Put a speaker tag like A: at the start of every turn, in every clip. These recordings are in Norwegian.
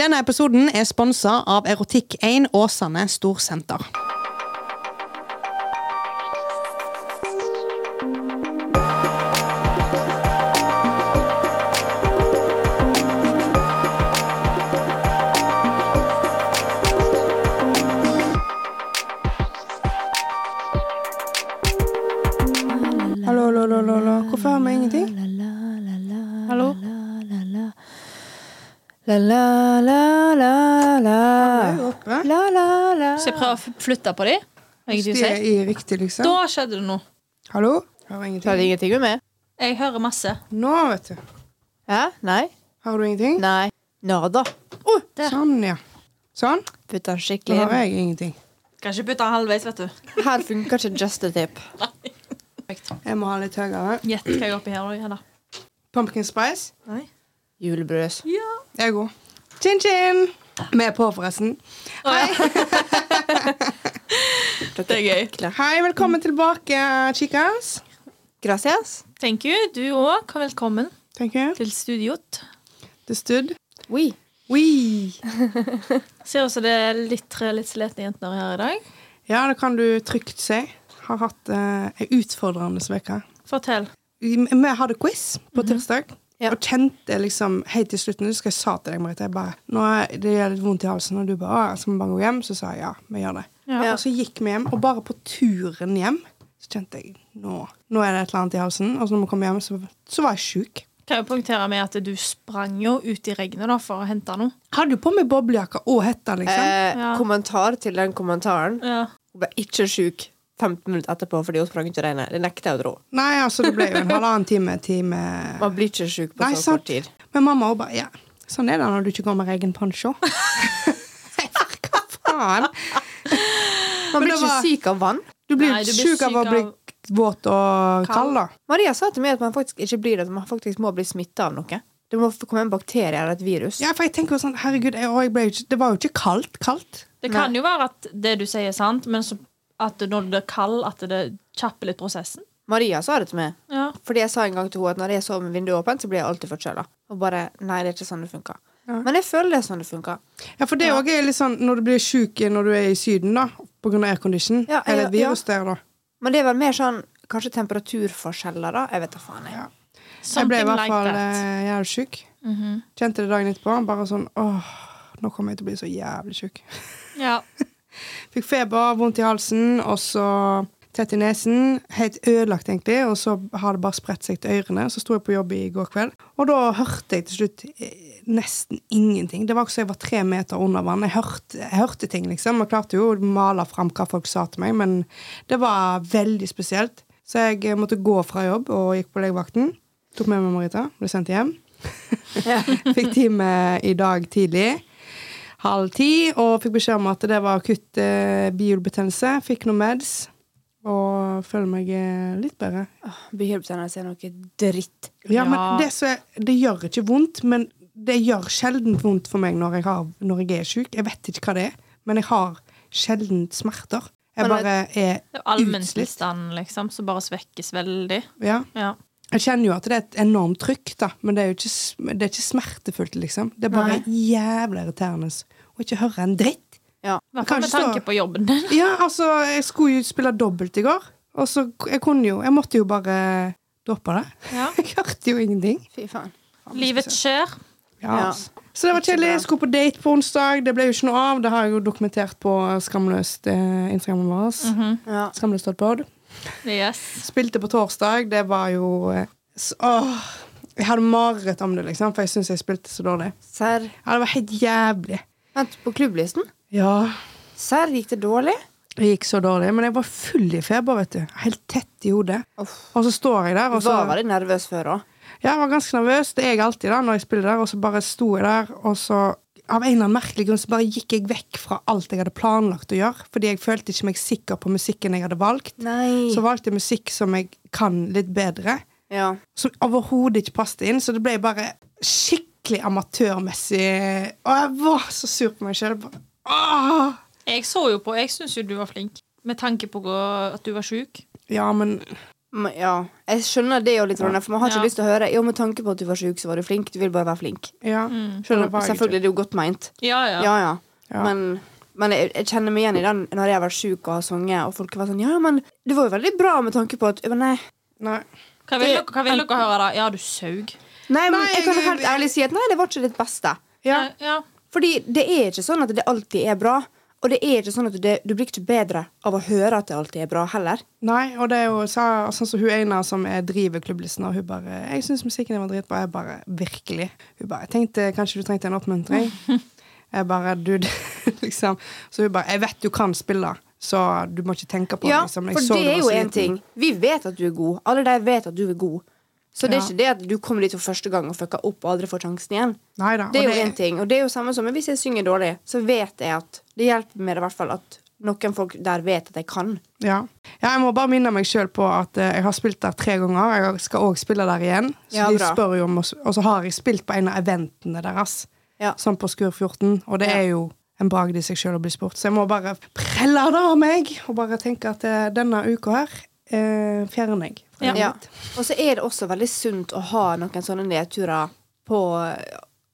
A: Denne episoden er sponsa av Erotikk1 Åsane Storsenter. Hallo, hallo, hallo, hallo. Hvorfor har vi ingenting? Hallo? Oppe.
B: Så jeg prøver å f- flytte på dem.
A: De er i riktig, liksom.
B: Da skjedde det noe.
A: Hallo? Har du
C: Har du
A: ingenting?
C: ingenting med meg?
B: Jeg hører masse.
A: Nå, vet du.
C: Hæ? Nei?
A: Har du ingenting?
C: Nei. Nada.
A: Sånn, ja. Sånn.
C: Putt den skikkelig
A: Da har
C: inn.
A: jeg ingenting.
B: Kan ikke putte den halvveis, vet du.
C: Her funker ikke justitip.
A: Jeg må ha litt høyere.
B: Gjett hva jeg er oppi her nå. Hedda.
A: Pumpkin spice.
C: Julebrus.
A: Jeg er god. Chin, chin! Vi er på, forresten.
B: Hei. Det
C: Dere-
B: er gøy.
A: Hei, velkommen tilbake, chicas.
C: Gracias.
B: Thank you. Du òg. Velkommen
A: Thank you.
B: til studiot.
A: Det stod.
C: Oui.
A: Oui.
B: Ser ut som det er litt tre litt slitne jenter her i dag.
A: Ja, det kan du trygt si. Har hatt eh, ei utfordrende uke.
B: Fortell.
A: Vi vi hadde quiz på tirsdag.
C: Mhm. Ja.
A: Og kjente liksom helt til slutten Husker jeg sa til deg, Merete, jeg bare, nå er det gjør litt vondt i halsen, og du bare «Å, Skal vi bare gå hjem? Så sa jeg ja, vi gjør det.
B: Ja.
A: Og så gikk vi hjem, og bare på turen hjem så kjente jeg nå, nå er det et eller annet i halsen. Og så når vi kom hjem, så, så var jeg sjuk.
B: Kan jo poengtere med at du sprang jo ut i regnet da for å hente noe.
A: Hadde jo på meg boblejakke og hette, liksom.
C: Eh,
B: Ja.
C: Kommentar til den kommentaren.
B: Ja.
C: Hun ble ikke sjuk 15 minutter etterpå fordi hun sprang ut i regnet. Det nekter jeg å tro.
A: Nei, altså, det ble jo en halvannen time, time
C: Man blir ikke sjuk på
A: Nei,
C: så
A: sant.
C: kort tid.
A: Men mamma også bare Ja, sånn er det når du ikke går med egen poncho. Hva faen?
C: Man
A: Men
C: blir
A: det
C: ikke
A: var-
C: syk av vann.
A: Du blir
B: Nei, du blir
A: sjuk av å
B: syk
A: bli
B: av-
A: våt og
B: Kald.
A: kald, da.
C: Maria sa til meg at man faktisk ikke blir det, at man faktisk må bli smitta av noe. Det må f- komme en bakterie eller et virus.
A: Ja, for jeg tenker jo sånn, herregud, jeg, og jeg ble, jo ikke- det var jo ikke kaldt, kaldt.
B: Det kan jo være at det du sier er sant, men så at når du blir kald, at det kjapper litt prosessen.
C: Maria sa det til meg.
B: Ja.
C: Fordi jeg sa en gang til henne at når jeg sover med vinduet åpent, så blir jeg alltid forkjøla. Og bare Nei, det er ikke sånn det funker. Men jeg føler det er sånn det funker.
A: Ja, for det òg er litt sånn når du blir sjuk når du er i Syden, da, pga. aircondition.
C: Ja,
A: eller et
C: ja, ja.
A: virus der, da.
C: Men det er vel mer sånn kanskje temperaturforskjeller, da. Jeg vet da faen, jeg.
A: Jeg ble i
B: Something
A: hvert
B: like
A: fall
B: that. Mhm.
A: eh, jævlig sjuk. Kjente det dagen etterpå. Bare sånn åh, nå kommer jeg til å bli så jævlig sjuk.
B: Ja.
A: Fikk feber, vondt i halsen, og så tett i nesen. Helt ødelagt, egentlig. Og så har det bare spredt seg til ørene. Så sto jeg på jobb i går kveld, og da hørte jeg til slutt eh, nesten ingenting. Det var ikke så jeg var tre meter under vann. Jeg hørte, jeg hørte ting, liksom. Og klarte jo å male fram hva folk sa til meg, men det var veldig spesielt. Så jeg eh, måtte gå fra jobb og gikk på legevakten. Tok med meg Marita, ble sendt hjem. Fikk time i dag tidlig halv ti, og fikk beskjed om at det var akutt eh, bihulebetennelse. Fikk noen meds, og føler meg eh, litt bedre.
C: Behjelpstjeneste er noe dritt.
A: Ja, men
B: Ja.
A: det, som er- det gjør ikke vondt, men det gjør sjelden vondt for meg når jeg, har, når jeg er syk. Jeg vet ikke hva det er, men jeg har sjelden smerter. Jeg
C: Men det-
A: bare er
B: Det er
A: utslitt.
B: Allmenntilstanden, liksom, som bare svekkes veldig.
A: Ja.
B: Ja.
A: Jeg kjenner jo at det er et enormt trykk, da, men det er jo ikke, sm- det er ikke smertefullt, liksom. Det er bare
B: Nei.
A: jævlig irriterende å ikke høre en dritt.
B: I hvert fall
A: Kanskje
B: med tanke
A: så-
B: på jobben din.
A: Ja, altså, jeg skulle jo spille dobbelt i går. Og så k- jeg kunne jo Jeg måtte jo bare droppe det.
B: Ja.
A: Jeg hørte jo ingenting.
C: Fy faen.
B: Livet skjer.
A: Ja.
C: Ja.
A: Så det var
C: Ikke
A: kjedelig.
C: bra.
A: Jeg skulle på date på onsdag. Det ble jo ikke noe av. Det har jeg jo dokumentert på Skamløst eh, Instagramen vår.
C: Ja.
A: Skamløst.pod.
B: Yes.
A: Spilte på torsdag. Det var jo eh, s- Åh. Jeg hadde mareritt om det, liksom, for jeg syns jeg spilte så dårlig.
C: Serr.
A: Ja, Det var helt jævlig.
C: Vent, på klubblisten?
A: Ja.
C: Serr, gikk det dårlig?
A: Det gikk så dårlig. Men jeg var full i feber, vet du. Helt tett i hodet.
C: Uff.
A: Og så står jeg der, og så
C: Var veldig nervøs før òg.
A: Ja, Jeg var ganske nervøs. Det er jeg alltid da, når jeg spiller der. Og så bare sto jeg der, og så av en eller annen merkelig grunn så bare gikk jeg vekk fra alt jeg hadde planlagt å gjøre. Fordi jeg følte ikke meg sikker på musikken jeg hadde valgt.
C: Nei.
A: Så valgte jeg musikk som jeg kan litt bedre.
C: Ja.
A: Som overhodet ikke passet inn. Så det ble bare skikkelig amatørmessig. Og jeg var så sur på meg sjøl.
B: Jeg så jo på. Jeg syns jo du var flink. Med tanke på gå- at du var sjuk.
A: Ja, men
C: Men, ja, jeg skjønner det jo litt, Ronja, for man har ikke
B: Ja.
C: lyst til å høre Ja, med tanke på at du var syk, så var du flink. Du vil bare være flink.
A: Ja.
C: Selv
A: Det
C: om,
A: var jeg
C: Mm. selvfølgelig, det er jo godt meint.
B: Ja, ja.
C: Ja, ja.
A: Ja.
C: Men, men jeg, jeg kjenner meg igjen i den når jeg har vært syk og har sunget, og folk har vært sånn Ja, men det var jo veldig bra med tanke på at Jeg bare, Nei.
A: Nei.
B: Hva vil, dere- hva vil dere høre, da? Ja, du saug.
C: Nei, men
A: Nei,
C: jeg kan
A: jeg-
C: helt ærlig si at nei, det var ikke ditt beste.
A: Ja.
B: ja.
C: Fordi det er ikke sånn at det alltid er bra. Og det er ikke sånn at det, du blir ikke bedre av å høre at det alltid er bra, heller.
A: Nei, og det er jo sa- sånn som hun ene som er driver klubblissen, og hun bare 'Jeg syns musikken din var dritbra.' Jeg bare Virkelig. Hun bare 'Jeg tenkte kanskje du trengte en oppmuntring'. Jeg bare Du, liksom. Så hun bare 'Jeg vet du kan spille, så du må ikke tenke på
C: Ja,
A: det'. Liksom. Jeg
C: for
A: så
C: det
A: du var
C: er jo
A: sliten.»
C: én ting. Vi vet at du er god. Alle de vet at du er god. Så det er
A: Ja.
C: ikke det at du kommer dit for første gang og fucker opp og aldri får sjansen igjen.
A: Neida, og
C: Det er jo én ting. Og det er jo samme som men hvis jeg synger dårlig, så vet jeg at det hjelper meg i hvert fall at noen folk der vet at jeg kan.
A: Ja. ja, jeg må bare minne meg sjøl på at eh, jeg har spilt der tre ganger. Jeg skal òg spille der igjen. Så
C: Ja,
A: de
C: bra.
A: spør jo om, å s- Og så har jeg spilt på en av eventene deres,
C: Ja.
A: sånn på Skur 14, og det
C: Ja.
A: er jo en bragd i seg sjøl å bli spurt. Så jeg må bare prelle det av meg, og bare tenke at eh, denne uka her eh, fjerner jeg. fra
B: Ja.
A: livet
C: Ja.
A: mitt.
C: Og så er det også veldig sunt å ha noen sånne nedturer på,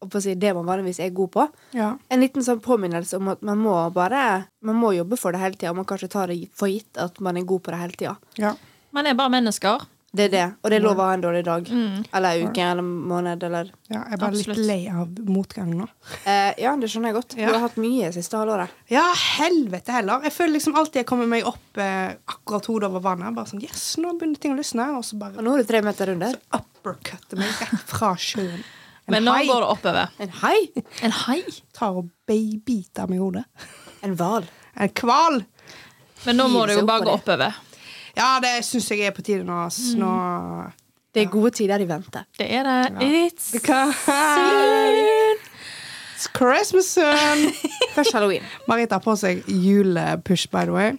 C: på å si, det man vanligvis er god på.
A: ja.
C: En liten sånn påminnelse om at man må bare Man må jobbe for det hele tida, og man kan ikke ta det for gitt at man er god på det hele tida.
A: ja.
B: Man er bare mennesker.
C: Det er det. Og det er lov å ha en dårlig dag.
B: Mm.
C: Eller en uke, eller en måned, eller
A: Ja, jeg er bare
B: Absolutt.
A: litt lei av motgang nå.
C: eh, Ja, det skjønner jeg godt.
A: Ja.
C: Du har hatt mye siste halvåret.
A: Ja, helvete heller. Jeg føler liksom alltid jeg kommer meg opp eh, akkurat hodet over vannet. Bare sånn, yes, nå begynner ting å lysne, og så bare
C: Og nå er du tre meter under.
A: uppercutte meg rett fra sjøen. En
B: Men nå
A: hai
B: går det oppover.
C: En hai.
B: En hai.
A: tar og babybiter meg i hodet.
C: En hval.
A: En kval!
B: Men nå må
C: Hive
B: det
C: seg
B: jo
C: oppå
B: bare gå
C: det.
B: oppover.
A: Ja, det syns jeg er på tide nå. ass. Nå
C: Det er gode tider i vente.
B: Det er det. It's
A: Because It's Christmas soon!
C: Først halloween.
A: Marita har på seg julepush, by the way.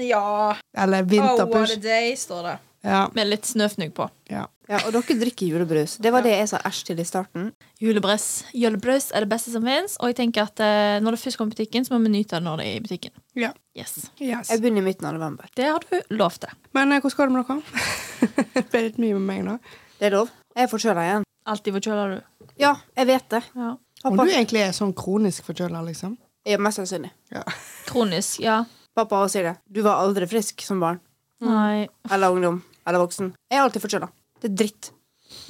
B: Ja. Oh,
A: Eller vinterpush.
B: day, står det.
A: Ja,
B: Med litt snøfnugg på.
A: ja.
C: Ja, og dere drikker julebrus. Det var det jeg sa æsj til i starten.
B: Julebrus. Julebrus er det beste som fins, og jeg tenker at eh, når det først kommer i butikken, så må vi nyte det når det er i butikken.
A: ja.
B: Yes.
A: Yes.
C: Jeg begynner i midten av november.
B: Det har du lov til.
A: Men eh, hvordan går det med dere? det ble litt mye med meg nå.
C: Det er lov. Jeg er forkjøla igjen.
B: Alltid forkjøla, du.
C: Ja, jeg vet det.
B: Ja.
A: Om
C: Pappa
A: du egentlig er sånn kronisk forkjøla, liksom?
C: jeg er mest sannsynlig.
A: Ja.
B: Kronisk, ja.
C: Pappa også sier det. Du var aldri frisk som barn.
B: Nei.
C: Eller ungdom. Eller voksen. Jeg er alltid forkjøla. Det er dritt.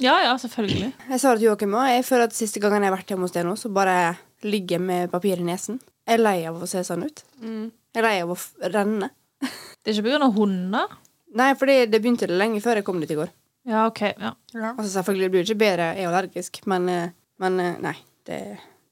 B: Ja ja, selvfølgelig.
C: Jeg sa det til Joakim òg. Jeg føler at siste gangen jeg har vært hjemme hos deg nå, så bare ligger jeg med papir i nesen. Jeg er lei av å se sånn ut.
B: Mm.
C: Jeg er lei av å f renne.
B: Det er ikke pga. hunder.
C: Nei, fordi det begynte det lenge før jeg kom dit i går.
B: Ja, OK. Ja.
A: Ja.
C: Altså Selvfølgelig blir det ikke bedre, jeg er allergisk, men, eh, men eh, nei. Det,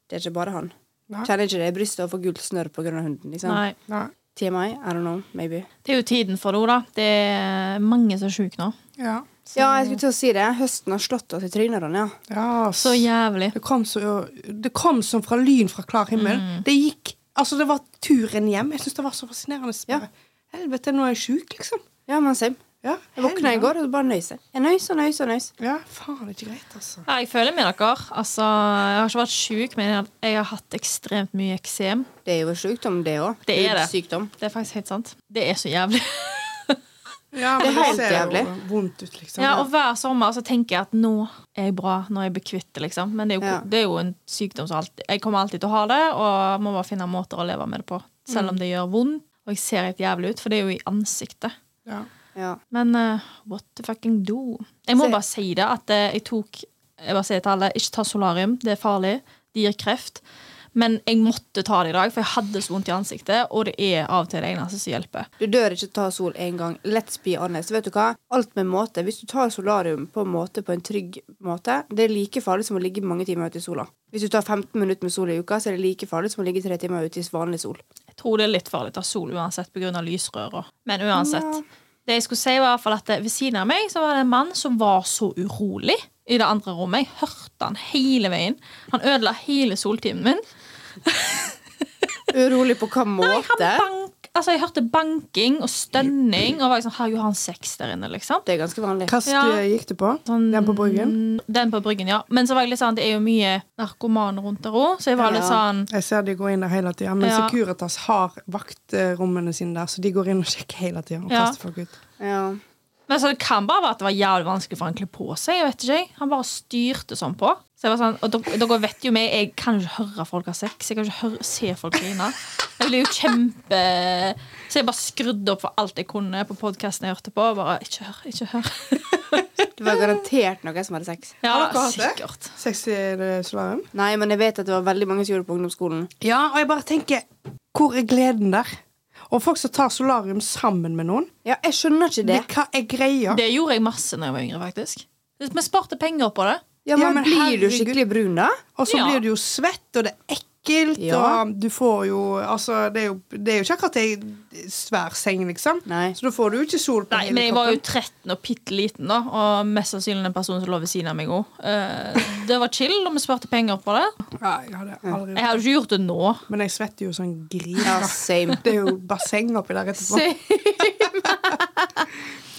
C: det er ikke bare han.
A: Nei.
C: Kjenner ikke det i brystet og får gult snørr pga. hunden. liksom.
B: Nei.
A: Nei.
C: TMI? I don't know. Maybe.
B: Det er jo tiden for det òg, da. Det er mange som er sjuke nå.
A: Ja.
C: Ja, jeg skulle til å si det. Høsten har slått oss i trynet, Ronja.
A: ja ass.
B: Så jævlig.
A: Det kom, så, det kom som fra lyn fra klar himmel. Det gikk Altså, det var turen hjem. Jeg syns det var så fascinerende. Så
C: Ja.
A: bare, Helvete, nå er jeg sjuk, liksom.
C: Ja, men same.
A: Ja,
C: Jeg våkna i
A: helvete.
C: går og bare nøys. Jeg Jeg nøys og nøys og nøys.
A: Ja, faen, det er ikke greit, altså.
B: Ja, jeg føler med dere. Altså, jeg har ikke vært sjuk, men jeg har, jeg har hatt ekstremt mye eksem.
C: Det er jo sjukdom, det òg.
B: Det er det.
C: Sykdom.
B: Det er faktisk helt sant. Det er så jævlig.
A: Ja,
C: Det er
A: men
C: helt
A: ser jo
C: jævlig.
A: Vondt ut, liksom.
B: Ja, og hver sommer så tenker jeg at nå er jeg bra, nå er jeg bekvitt det, liksom. Men det er jo,
C: Ja.
B: det er jo en sykdom som alltid Jeg kommer alltid til å ha det, og må bare finne måter å leve med det på.
C: Mm.
B: Selv om det gjør vondt, og jeg ser helt jævlig ut, for det er jo i ansiktet.
A: Ja.
C: Ja.
B: Men eh, what the fucking do? Jeg må
C: Se-
B: bare si det, at eh, jeg tok Jeg bare sier til alle, ikke ta solarium, det er farlig. Det gir kreft. Men jeg måtte ta det i dag, for jeg hadde så vondt i ansiktet, og det er av og til det eneste som hjelper.
C: Du dør ikke ta sol én gang. Let's be honest. Vet du hva? Alt med måte. Hvis du tar solarium på en måte på en trygg måte, det er like farlig som å ligge mange timer ute i sola. Hvis du tar 15 minutter med sol i uka, så er det like farlig som å ligge tre timer ute i vanlig sol.
B: Jeg tror det er litt farlig å ta sol uansett pga. lysrøra. Men uansett. Det jeg skulle si var i hvert fall at det- Ved siden av meg så var det en mann som var så urolig i det andre rommet. Jeg hørte han hele veien. Han ødela hele soltimen min.
C: Urolig på hva
B: Nei, han
C: måte?
B: bank, altså Jeg hørte banking og stønning. Og var liksom, Herregud, har han sex der inne, liksom?
C: Det er ganske vanlig.
A: Hva stue
B: Ja.
A: eh, gikk du på?
B: Sånn-
A: Den på Bryggen?
B: Den på Bryggen, ja. Men så var jeg litt sånn, det er jo mye narkomane rundt der òg, så jeg var litt
C: Ja.
B: sånn
A: Jeg ser de går inn der hele tida, men
B: Ja.
A: Securitas har vaktrommene sine der, så de går inn og sjekker hele tida og
B: Ja.
A: kaster folk ut.
C: Ja.
B: Men så det kan bare være at det var jævlig vanskelig for han å kle på seg. jeg vet ikke jeg. Han bare styrte sånn på. Så jeg var sånn, og dere- Dere vet jo meg, jeg kan jo ikke høre folk ha sex. Jeg kan jo ikke høre, se folk grine. Jeg ble jo kjempe... Så jeg bare skrudde opp for alt jeg kunne på podkasten jeg hørte på. Bare, ikke hør, ikke hør.
C: Det var garantert noen som hadde sex.
B: Ja,
A: Har dere hatt det?
B: sikkert.
A: Sex i det eh, solarium?
C: Nei, men jeg vet at det var veldig mange som gjorde det på ungdomsskolen.
A: Ja, og jeg bare tenker Hvor er gleden der? Og folk som tar solarium sammen med noen.
C: Ja, jeg skjønner ikke det.
A: Det, hva er greia?
B: Det gjorde jeg masse når jeg var yngre, faktisk. Vi sparte penger på det.
C: Ja, men,
A: Ja, men
C: blir du
A: herregud.
C: skikkelig brun da?
A: Og så
B: Ja.
A: blir du jo svett, og det er ekkelt,
C: Ja.
A: og du får jo Altså, det er jo, det er jo ikke akkurat ei svær seng, liksom.
C: Nei.
A: Så da får du jo ikke sol på
B: Nei,
A: hele
B: men jeg var jo
A: kroppen.
B: 13 og bitte liten, da. Og mest sannsynlig den personen som lå ved siden av meg òg. Det var chill, og vi sparte penger på det.
A: Ja, jeg hadde aldri
B: Jeg hadde ikke gjort det nå.
A: Men jeg svetter jo sånn gris.
C: Ja,
A: da.
C: same.
A: Det er jo basseng oppi der etterpå.
B: Se.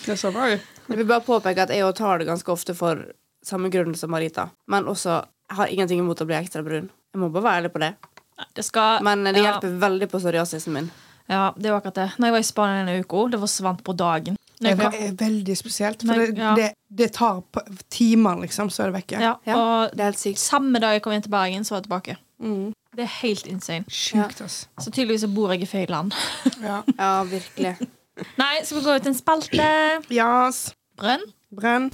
A: Det er så bra, jo.
C: Jeg vil bare påpeke at jeg også tar det ganske ofte for samme grunn som Marita. Men også jeg har ingenting imot å bli ekstra brun. Jeg må bare være ærlig på det.
B: Nei, Det skal
C: Men det
B: ja,
C: hjelper veldig på psoriasisen min.
B: Ja, det var akkurat det. Når jeg var i Spania denne uka, det forsvant på dagen. Når
A: Det
B: jeg kom-
A: er veldig spesielt, for
B: Nei,
A: det,
B: ja.
A: det, det tar på- timer, liksom, så er det vekke.
B: Ja,
C: Ja,
B: og
C: det er Mm. helt sykt.
B: samme dag jeg kom inn til Bergen, så var jeg tilbake. Det er helt insane.
A: Sjukt, ass.
B: Så tydeligvis så bor jeg i feil land.
A: Ja.
C: Ja, virkelig.
B: Nei, skal vi gå ut en spalte?
A: Jas.
B: Brønn?
A: Brenn.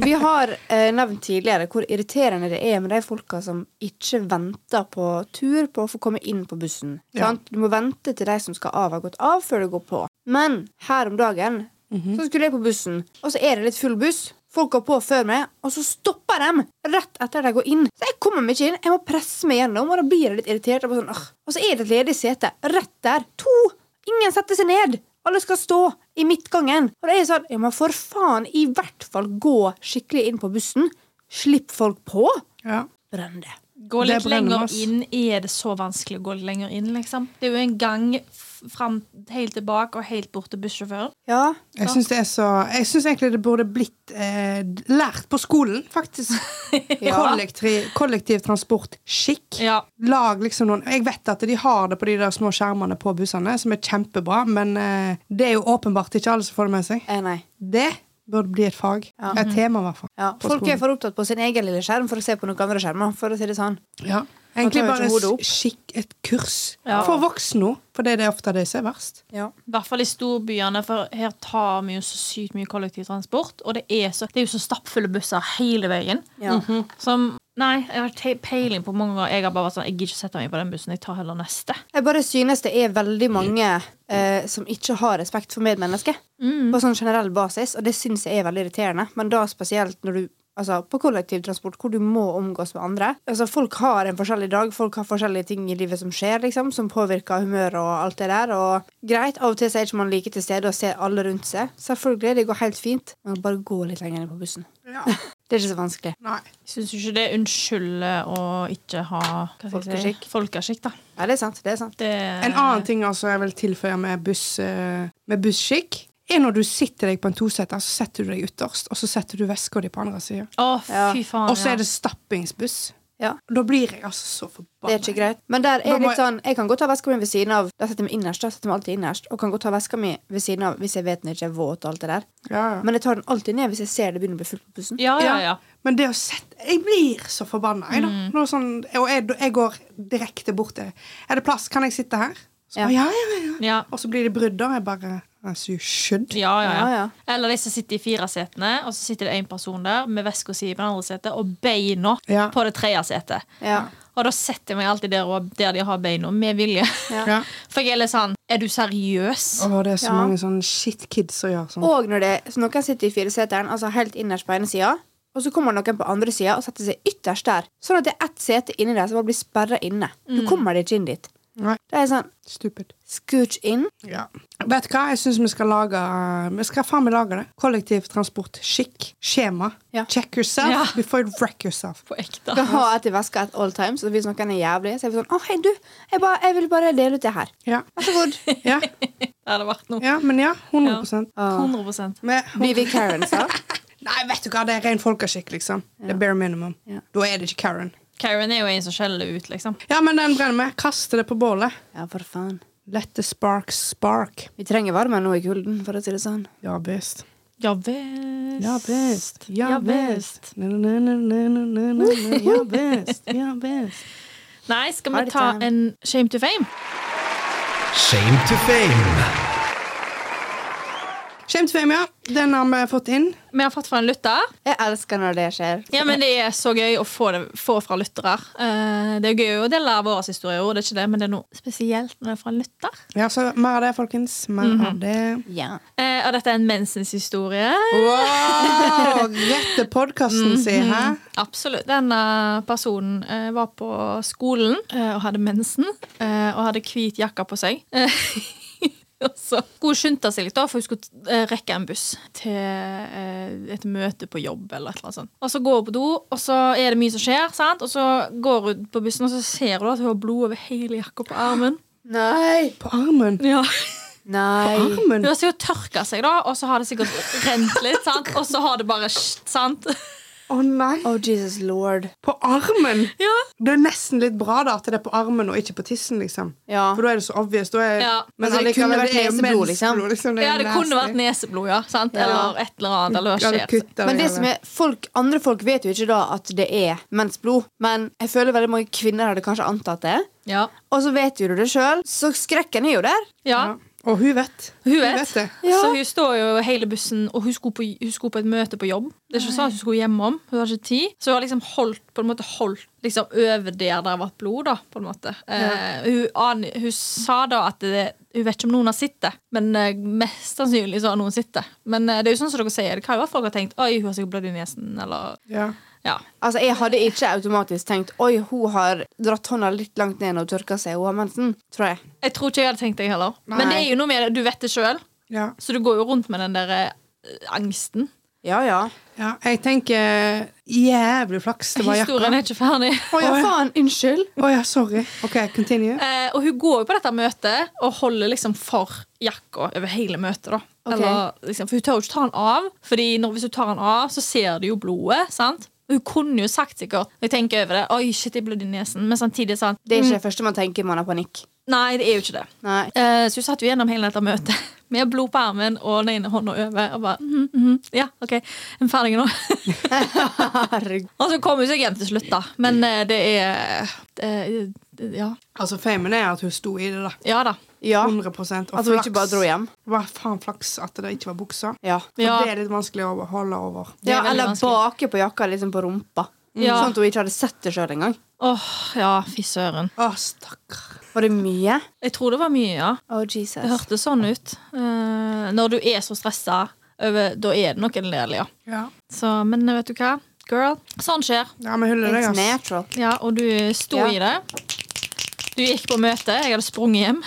C: Vi har eh, nevnt tidligere hvor irriterende det er med de folka som ikke venter på tur på å få komme inn på bussen.
A: Ja.
C: Sant? Du må vente til de som skal av, har gått av, før du går på. Men her om dagen så skulle jeg på bussen, og så er det litt full buss. Folk går på før meg, og så stopper de rett etter de går inn. Så jeg kommer meg ikke inn. Jeg må presse meg gjennom, og da blir jeg litt irritert. Og, bare sånn, «Åh». og så er det et ledig sete rett der. To! Ingen setter seg ned. Alle skal stå i midtgangen. Og det er sånn, ja, men for faen, i hvert fall gå skikkelig inn på bussen. Slipp folk på.
A: Ja.
C: Brenn det.
B: Gå
A: Det
B: litt
A: brenner
B: lenger
A: oss.
B: inn. Er det så vanskelig å gå litt lenger inn, liksom? Det er jo en gang f- fram, helt tilbake og helt bort til bussjåføren.
C: Ja.
A: Jeg syns det er så Jeg syns egentlig det burde blitt eh, lært på skolen, faktisk. Kollektiv, kollektiv transportskikk.
B: Ja.
A: Lag liksom noen Jeg vet at de har det på de der små skjermene på bussene, som er kjempebra, men eh, det er jo åpenbart ikke alle som får det med seg.
C: Eh, nei.
A: Det burde bli et fag.
C: Ja.
A: Et tema, i hvert fall.
C: Ja.
A: På
C: Folk
A: skolen.
C: er for opptatt på sin egen lille skjerm for å se på noen andre skjermer. For å si det sånn.
A: Ja.
C: tar
A: Egentlig
C: jo ikke
A: bare
C: hodet opp.
A: skikk et kurs.
B: Ja.
A: For voksne nå, for det er det ofte det som er verst.
C: Ja.
B: I hvert fall i storbyene, for her tar vi jo så sykt mye kollektivtransport. Og det er, så, det er jo så stappfulle busser hele veien.
C: Ja.
B: Mm. Som Nei, jeg har te- peiling på mange ganger. Jeg har bare vært sånn, jeg gidder ikke sette meg på den bussen. Jeg tar heller neste.
C: Jeg bare synes det er veldig mange eh, som ikke har respekt for medmennesker. På sånn generell basis, og det synes jeg er veldig irriterende. Men da spesielt når du Altså, på kollektivtransport, hvor du må omgås med andre. Altså, Folk har en forskjellig dag, folk har forskjellige ting i livet som skjer, liksom, som påvirker humøret og alt det der. Og greit, av og til så er ikke man like til stede og ser alle rundt seg. Selvfølgelig, det går helt fint. Men bare gå litt lenger ned på bussen.
A: Ja.
C: Det er ikke så vanskelig.
A: Nei.
B: Jeg syns ikke det unnskylder å ikke ha hva skal jeg si, folkeskikk, da.
C: Ja, det er sant. Det er sant.
B: Det,
A: En
C: Eh.
A: annen ting altså jeg vil tilføye med, buss, eh, med busskikk, er når du sitter deg på en toseter, så setter du deg ytterst, og så setter du veska di på andre sida.
B: Å,
C: Ja.
B: fy faen.
A: Og så
B: ja.
A: er det stappingsbuss.
C: Ja.
A: Da blir jeg altså så forbanna.
C: Det er ikke greit. Men der er
A: Da
C: jeg
A: må
C: litt
A: jeg-
C: sånn Jeg kan godt ta veska mi ved siden av. Da setter jeg meg innerst. Da setter jeg meg alltid innerst Og kan godt ta veska mi ved siden av hvis jeg vet den ikke er våt. og alt det der
A: Ja, ja.
C: Men jeg tar den alltid ned hvis jeg ser det begynner å bli fullt på bussen.
B: Ja, ja, ja. Mm.
A: Men det å sette Jeg blir så forbanna, jeg, da. Når sånn, og jeg, jeg går direkte bort til Er det plass? Kan jeg sitte her? Så,
C: Ja.
A: ja, ja, ja.
B: ja.
A: Og så blir det brudd, da. Jeg bare As you should.
B: Ja, ja, ja.
C: Ja, ja.
B: Eller de som sitter i fire setene, og så sitter det én person der med veska si på det andre setet og beina
A: Ja.
B: på det tredje setet.
C: Ja.
B: Og da setter jeg meg alltid der, og- der de har beina, med vilje.
C: Ja.
A: Ja.
B: For jeg er litt sånn Er du seriøs?
A: Og det er så
C: Ja.
A: mange sånne shitkids som gjør sånn.
C: Og når det så noen sitter i fireseteren, altså helt innerst på ene sida, og så kommer noen på andre sida og setter seg ytterst der, sånn at det er ett sete inni der som bare blir sperra inne. Du kommer deg ikke inn dit.
A: Mm. Nei.
C: Det er sånn
A: Stupid.
C: Scooch inn.
A: Ja. Vet du hva, jeg syns vi skal lage Vi skal faen meg lage det. Kollektivtransport, skikk, skjema.
C: Ja.
A: Check yourself
B: Ja.
A: before you wreck yourself.
B: På ekte.
C: Skal ha et i veska at all times. Og hvis noen er jævlig, så er vi sånn Å, hei, du. Jeg, bare, jeg vil bare dele ut det her.
A: Ja.
C: Vær så god.
A: Ja.
B: Det hadde vært noe.
A: ja, men ja. 100
C: Åh.
B: 100
A: Med,
C: Blir vi Karens, da?
A: Nei, vet du hva, det er ren folkeskikk, liksom. Det er bare minimum.
C: Ja.
A: Da er det ikke Karen.
B: Karen er jo en som skjeller ut, liksom.
A: Ja, men den brenner vi. Kaster det på bålet.
C: Ja, for faen.
A: Let the spark spark.
C: Vi trenger varmen nå i kulden, for å si det sånn.
A: Ja visst.
B: Ja visst.
A: Ja visst.
B: Ja visst.
A: Na, na, na, na, na, na, na, na. Ja visst. Ja visst.
B: Nei, skal
C: Party
B: vi ta
C: time.
B: en shame to fame?
D: Shame to fame.
A: Shame to fame, ja. Den har vi fått inn.
B: Vi har fått fra en lytter.
C: Jeg elsker når det skjer.
B: Ja, men Det er så gøy å få, det, få fra lyttere. Eh, det er gøy å dele våre historier, det er ikke det, men det er noe spesielt når det er fra en lytter.
A: Ja, så mer av det, folkens. Mer
C: Mhm.
A: av det.
C: Ja.
B: Eh, og dette er en mensenshistorie.
A: Wow! Rett til podkasten
C: Mhm.
A: sin, hæ?
B: Absolutt. Denne personen eh, var på skolen eh, og hadde mensen eh, og hadde hvit jakke på seg. Eh, og så skulle hun skynde seg litt, da, for hun skulle eh, rekke en buss til eh, et møte på jobb. eller et eller annet sånt. Og så går hun på do, og så er det mye som skjer, sant? og så går hun på bussen, og så ser hun at hun har blod over hele jakka på armen.
C: Nei!
A: På armen.
B: Ja.
C: Nei.
A: Armen?
B: Hun har sikkert tørka seg, da, og så har det sikkert rent litt, sant? og så har det bare sant?
A: Å nei.
C: Oh, Jesus lord.
A: På armen?
B: Ja.
A: Det er nesten litt bra da at det er på armen og ikke på tissen, liksom.
C: Ja.
A: For da er det så obvious. Da er,
B: Ja.
A: Men
C: Altså, det kunne
A: allikevel,
C: vært
A: er jo
C: neseblod, liksom.
A: mensblod, liksom.
B: Ja,
A: er
B: det kunne
A: nasty.
B: vært neseblod, ja. Sant? Eller et eller annet. Eller
A: Ja,
B: hva
A: du
B: skjer.
A: kutter det
C: Men det
A: hele.
C: som er, folk, andre folk vet jo ikke da at det er mensblod. Men jeg føler veldig mange kvinner hadde kanskje antatt det.
B: Ja.
C: Og så vet jo du det sjøl, så skrekken er jo der.
B: Ja.
A: Ja. Og hun vet.
B: Hun vet.
A: det.
C: Ja.
B: Så hun står jo hele bussen, og hun skulle, på, hun skulle på et møte på jobb. Det er ikke sånn at hun skulle hjemom. Hun har ikke tid. Så hun har liksom holdt på en måte holdt liksom over der det har vært blod, da, på en måte. Eh, hun, aner- hun sa da at det, hun vet ikke om noen har sett det, men eh, mest sannsynlig så har noen sett det. Men eh, det er jo sånn som dere sier, det kan jo være folk har tenkt Oi, hun har sikkert blødd i nesen, eller
A: Ja.
B: Ja.
C: Altså, Jeg hadde ikke automatisk tenkt Oi, hun har dratt hånda litt langt ned og tørka seg. Hun har mensen. Tror jeg.
B: Jeg tror ikke jeg hadde tenkt det heller. Men
C: Nei.
B: det er jo noe med det, du vet det sjøl.
A: Ja.
B: Så du går jo rundt med den der eh, angsten.
C: Ja, ja.
A: ja. Jeg tenker eh, jævlig flaks det var jakka.
B: Historien er ikke ferdig.
C: Å ja, faen. Unnskyld.
A: Å ja, sorry. OK, continue.
B: Eh, og hun går jo på dette møtet og holder liksom for jakka over hele møtet. da
C: Ok.
B: Eller, liksom, For hun tør jo ikke ta den av, Fordi når, hvis hun tar den av, så ser du jo blodet. sant? Hun kunne jo sagt sikkert Når jeg tenker over det, oi, shit, jeg blødde i nesen. Men samtidig sa han
C: Det er ikke det første man tenker man har panikk.
B: nei, det er jo ikke det.
C: Nei.
B: Eh, så hun satt jo gjennom hele dette møtet med blod på armen og den ene hånda over. Og bare, mhm, mhm, ja, ok, jeg er ferdig nå.
C: Herregud.
B: Og så kom hun seg hjem til slutt, da. Men eh, det er det, er- Ja.
A: Altså, Famen er at hun sto i det, da.
B: Ja da.
C: Ja.
A: 100 Og
C: At hun Altså, ikke bare dro hjem.
A: Hva faen flaks at det ikke var buksa.
C: Ja.
A: For
B: Ja.
A: det er litt vanskelig å holde over.
B: Det er
C: ja
B: veldig
C: eller
B: vanskelig.
C: bake på jakka liksom på rumpa.
B: Ja.
C: Sånn at hun ikke hadde sett det sjøl engang.
B: Åh, ja, fy søren.
A: Å, stakkar.
C: Var det mye?
B: Jeg tror det var mye, ja.
C: Oh, Jesus.
B: Det hørtes sånn ut. Eh, når du er så stressa, over, da er det nok en del, ja.
A: Ja.
B: Så, men eh, vet du hva, girl. Sånn skjer.
A: ja, vi hyller deg,
C: It's
A: ass.
C: natural.
B: Ja, og du sto
C: Ja.
B: i det. Du gikk på møte, jeg hadde sprunget hjem.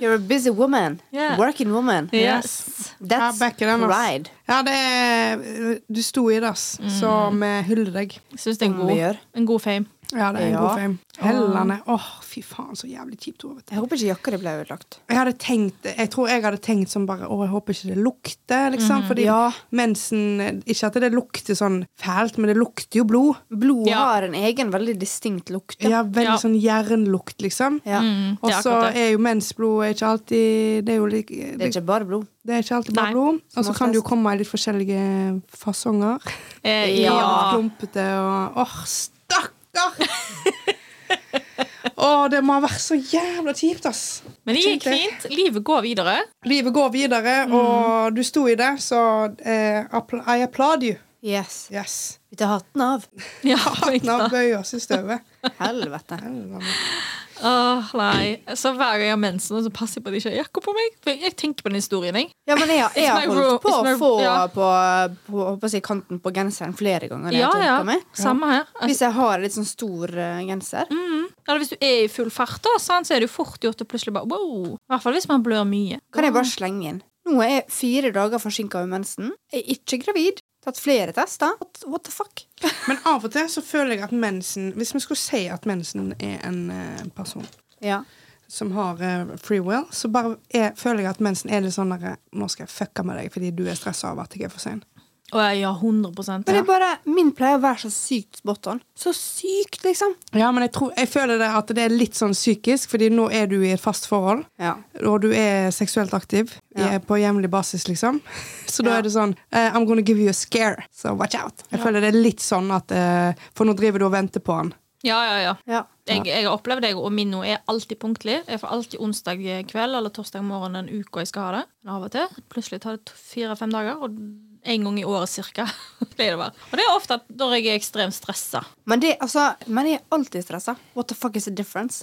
C: You're a busy woman.
B: Yeah.
C: Working woman.
B: Yes.
A: Ja,
C: That's
A: backer den, ass.
C: pride.
A: Ja, det er Du sto i det, ass. Så vi hyller deg.
B: Jeg syns det er en
A: Mm.
C: Om vi
B: god,
C: gjør.
B: en god fame.
A: Ja, det er en
C: Ja.
A: god fame. Hellene. Åh, fy faen, så jævlig kjipt ord. vet du.
C: Jeg håper ikke jakka di ble ødelagt.
A: Jeg hadde tenkt Jeg tror jeg hadde tenkt som bare Å, jeg håper ikke det lukter, liksom. Fordi
C: Ja.
A: mensen Ikke at det lukter sånn fælt, men det lukter jo blod.
C: Blod
B: Ja.
C: har en egen veldig distinkt lukt.
A: Ja, veldig
B: Ja.
A: sånn jernlukt, liksom.
C: Ja.
B: Mm,
A: Og
B: det er
A: så
B: akkurat det.
A: er jo mensblod er ikke alltid Det er jo lik-
C: Det er ikke bare blod.
A: det er ikke alltid bare
B: Nei.
A: blod. Og så
C: Smaker
A: kan det jo
C: best.
A: komme i litt forskjellige fasonger.
B: Eh,
A: Ja.
B: ja.
A: Klumpete og Åh, stakkar! Åh, det må ha vært så jævla kjipt, ass.
B: Men det gikk
A: Tenkte-
B: fint. Mm. Livet går videre.
A: Livet går videre, og du sto i det, så eh, appl- I applaud you.
C: Yes.
A: Yes.
C: Vi tar hatten av.
B: Ja,
A: Nå
B: Åh,
A: bøyer oss i støvet.
C: Helvete.
B: nei. Så hver gang jeg har mensen, så passer jeg på at jeg ikke har jakka på meg. For jeg tenker på den historien, jeg.
C: Ja, men jeg, jeg har
B: It's my
C: holdt på
B: rule. It's
C: å
B: my-
C: få
B: ja.
C: på, på, håper jeg å si, kanten på genseren flere ganger. når jeg
B: Ja,
C: har
B: ja.
C: tørket meg.
B: Samme her. Altså,
C: Hvis jeg har litt sånn stor eh, genser.
B: eller hvis du er i full fart, da, sant, så er det jo fort gjort å plutselig bare wow. I hvert fall hvis man blør mye.
C: Kan jeg bare slenge inn? Nå er jeg fire dager forsinka med mensen. Jeg er ikke gravid. Tatt flere tester. What, what the fuck?
A: Men av og til så føler jeg at mensen Hvis vi skulle si at mensen er en eh, person
C: Ja.
A: som har eh, free will, så eh, bare er, føler jeg at mensen er litt sånn der, Nå skal jeg fucke med deg fordi du er stressa av at jeg er for sein.
B: Og jeg ja, 100
C: Men det
B: ja.
C: er bare, min pleier å være så sykt spot on. Så sykt, liksom.
A: Ja, men jeg, tror, jeg føler det at det er litt sånn psykisk, fordi nå er du i et fast forhold,
C: Ja.
A: og du er seksuelt aktiv i-
C: Ja.
A: på jevnlig basis, liksom. Så da
C: Ja.
A: er det sånn eh, I'm gonna give you a scare, so watch out. Jeg føler det er litt sånn at eh, For nå driver du og venter på han.
B: ja, ja, ja.
C: Ja.
B: Jeg, jeg har opplevd det, og min nå er alltid punktlig. Jeg får alltid onsdag kveld eller torsdag morgen en uke jeg skal ha det. Men av og til plutselig tar det to- fire-fem dager, og en gang i året cirka. pleier det å være. Og det er ofte at når jeg er ekstremt stressa.
C: Men, det, altså, men jeg er alltid stressa. What the fuck is the difference?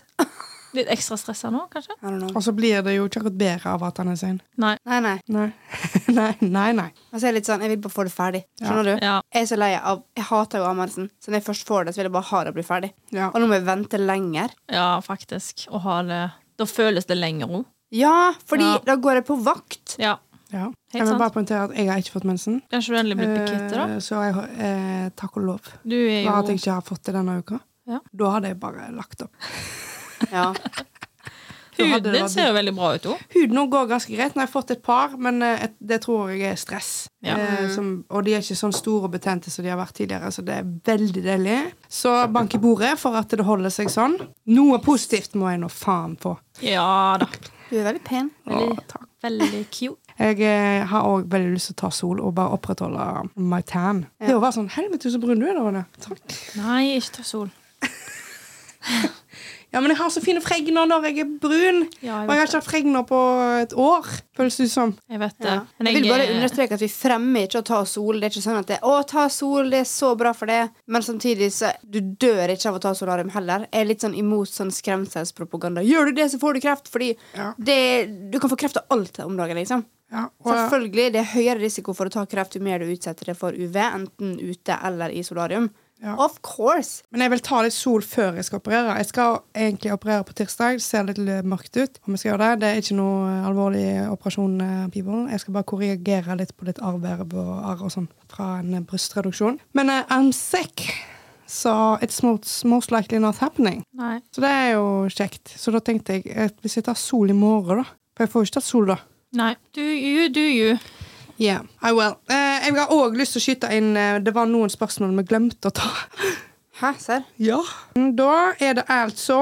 B: Litt ekstra stressa nå, kanskje?
C: I don't know.
A: Og så blir det jo ikke akkurat bedre av at han er sein.
B: Nei.
C: Nei, nei.
A: Nei. nei, nei, nei.
C: Altså, jeg er litt sånn, jeg vil bare få det ferdig. Skjønner du?
B: Ja.
C: Jeg er så lei av Jeg hater jo ammelsen. Så når jeg først får det, så vil jeg bare ha det og bli ferdig.
A: Ja.
C: Og nå må jeg vente lenger.
B: Ja, faktisk. Å ha det Da føles det lenger òg.
C: Ja, fordi
B: Ja.
C: da går jeg på vakt.
B: Ja.
A: ja.
B: Helt
A: Jeg vil
B: sant.
A: bare poengtere at jeg har ikke fått mensen.
B: Kanskje du endelig blir bekittet, da?
A: Eh, så jeg, har- eh, takk og lov.
B: Du er
A: Bare at jeg
B: jo
A: ikke har fått det denne uka.
B: Ja.
A: Da hadde jeg bare lagt opp.
C: Ja.
A: Da hadde
B: Huden
A: det
B: din
A: vært-
B: ser jo veldig bra ut òg.
A: Huden nå går ganske greit. Nå har jeg fått et par, men eh, et, det tror jeg er stress.
B: Ja.
A: Eh, som, og de er ikke sånn store og betente som de har vært tidligere, så det er veldig deilig. Så bank i bordet for at det holder seg sånn. Noe positivt må jeg nå faen få.
B: Ja da.
C: Du er veldig pen.
B: Veldig, veldig cute.
A: Jeg eh, har òg veldig lyst til å ta sol og bare opprettholde my tan. Det å være sånn Helvete, så brun du er der Ronja." Takk.
B: Nei, ikke ta sol.
A: Ja, men jeg har så fine fregner når jeg er brun. og
B: Ja, jeg
A: jeg har
B: vet
A: ikke hatt fregner på et år, føles det ut som.
B: Jeg vet det.
C: Ja.
B: Men
C: Jeg vil bare
B: eh,
C: understreke at vi fremmer ikke å ta sol. Det er ikke sånn at det, å, ta sol, det er så bra for det. Men samtidig så du dør ikke av å ta solarium heller. Jeg er litt sånn imot sånn skremselspropaganda. Gjør du det, så får du kreft. Fordi
A: Ja.
C: det, du kan få kreft av alt om dagen, liksom.
A: Ja, og,
C: Selvfølgelig, det er høyere risiko for å ta kreft jo mer du utsetter det for UV, enten ute eller i solarium.
A: Ja.
C: Of course!
A: Men jeg vil ta litt sol før jeg skal operere. Jeg skal egentlig operere på tirsdag. Det ser litt mørkt ut. om jeg skal gjøre Det Det er ikke noe alvorlig operasjon. eh, people. Jeg skal bare korrigere litt på litt arrverv og arr og sånn fra en eh, brystreduksjon. Men eh, I'm sick, so it's most, most likely not happening.
B: Nei.
A: Så det er jo kjekt. Så da tenkte jeg eh, hvis jeg tar sol i morgen, da For jeg får jo ikke tatt sol da.
B: Nei. Do you, do you.
A: Yeah, I will. Eh, jeg har òg lyst til å skyte inn eh, Det var noen spørsmål vi glemte å ta.
C: Hæ, serr?
A: Ja. Da er det altså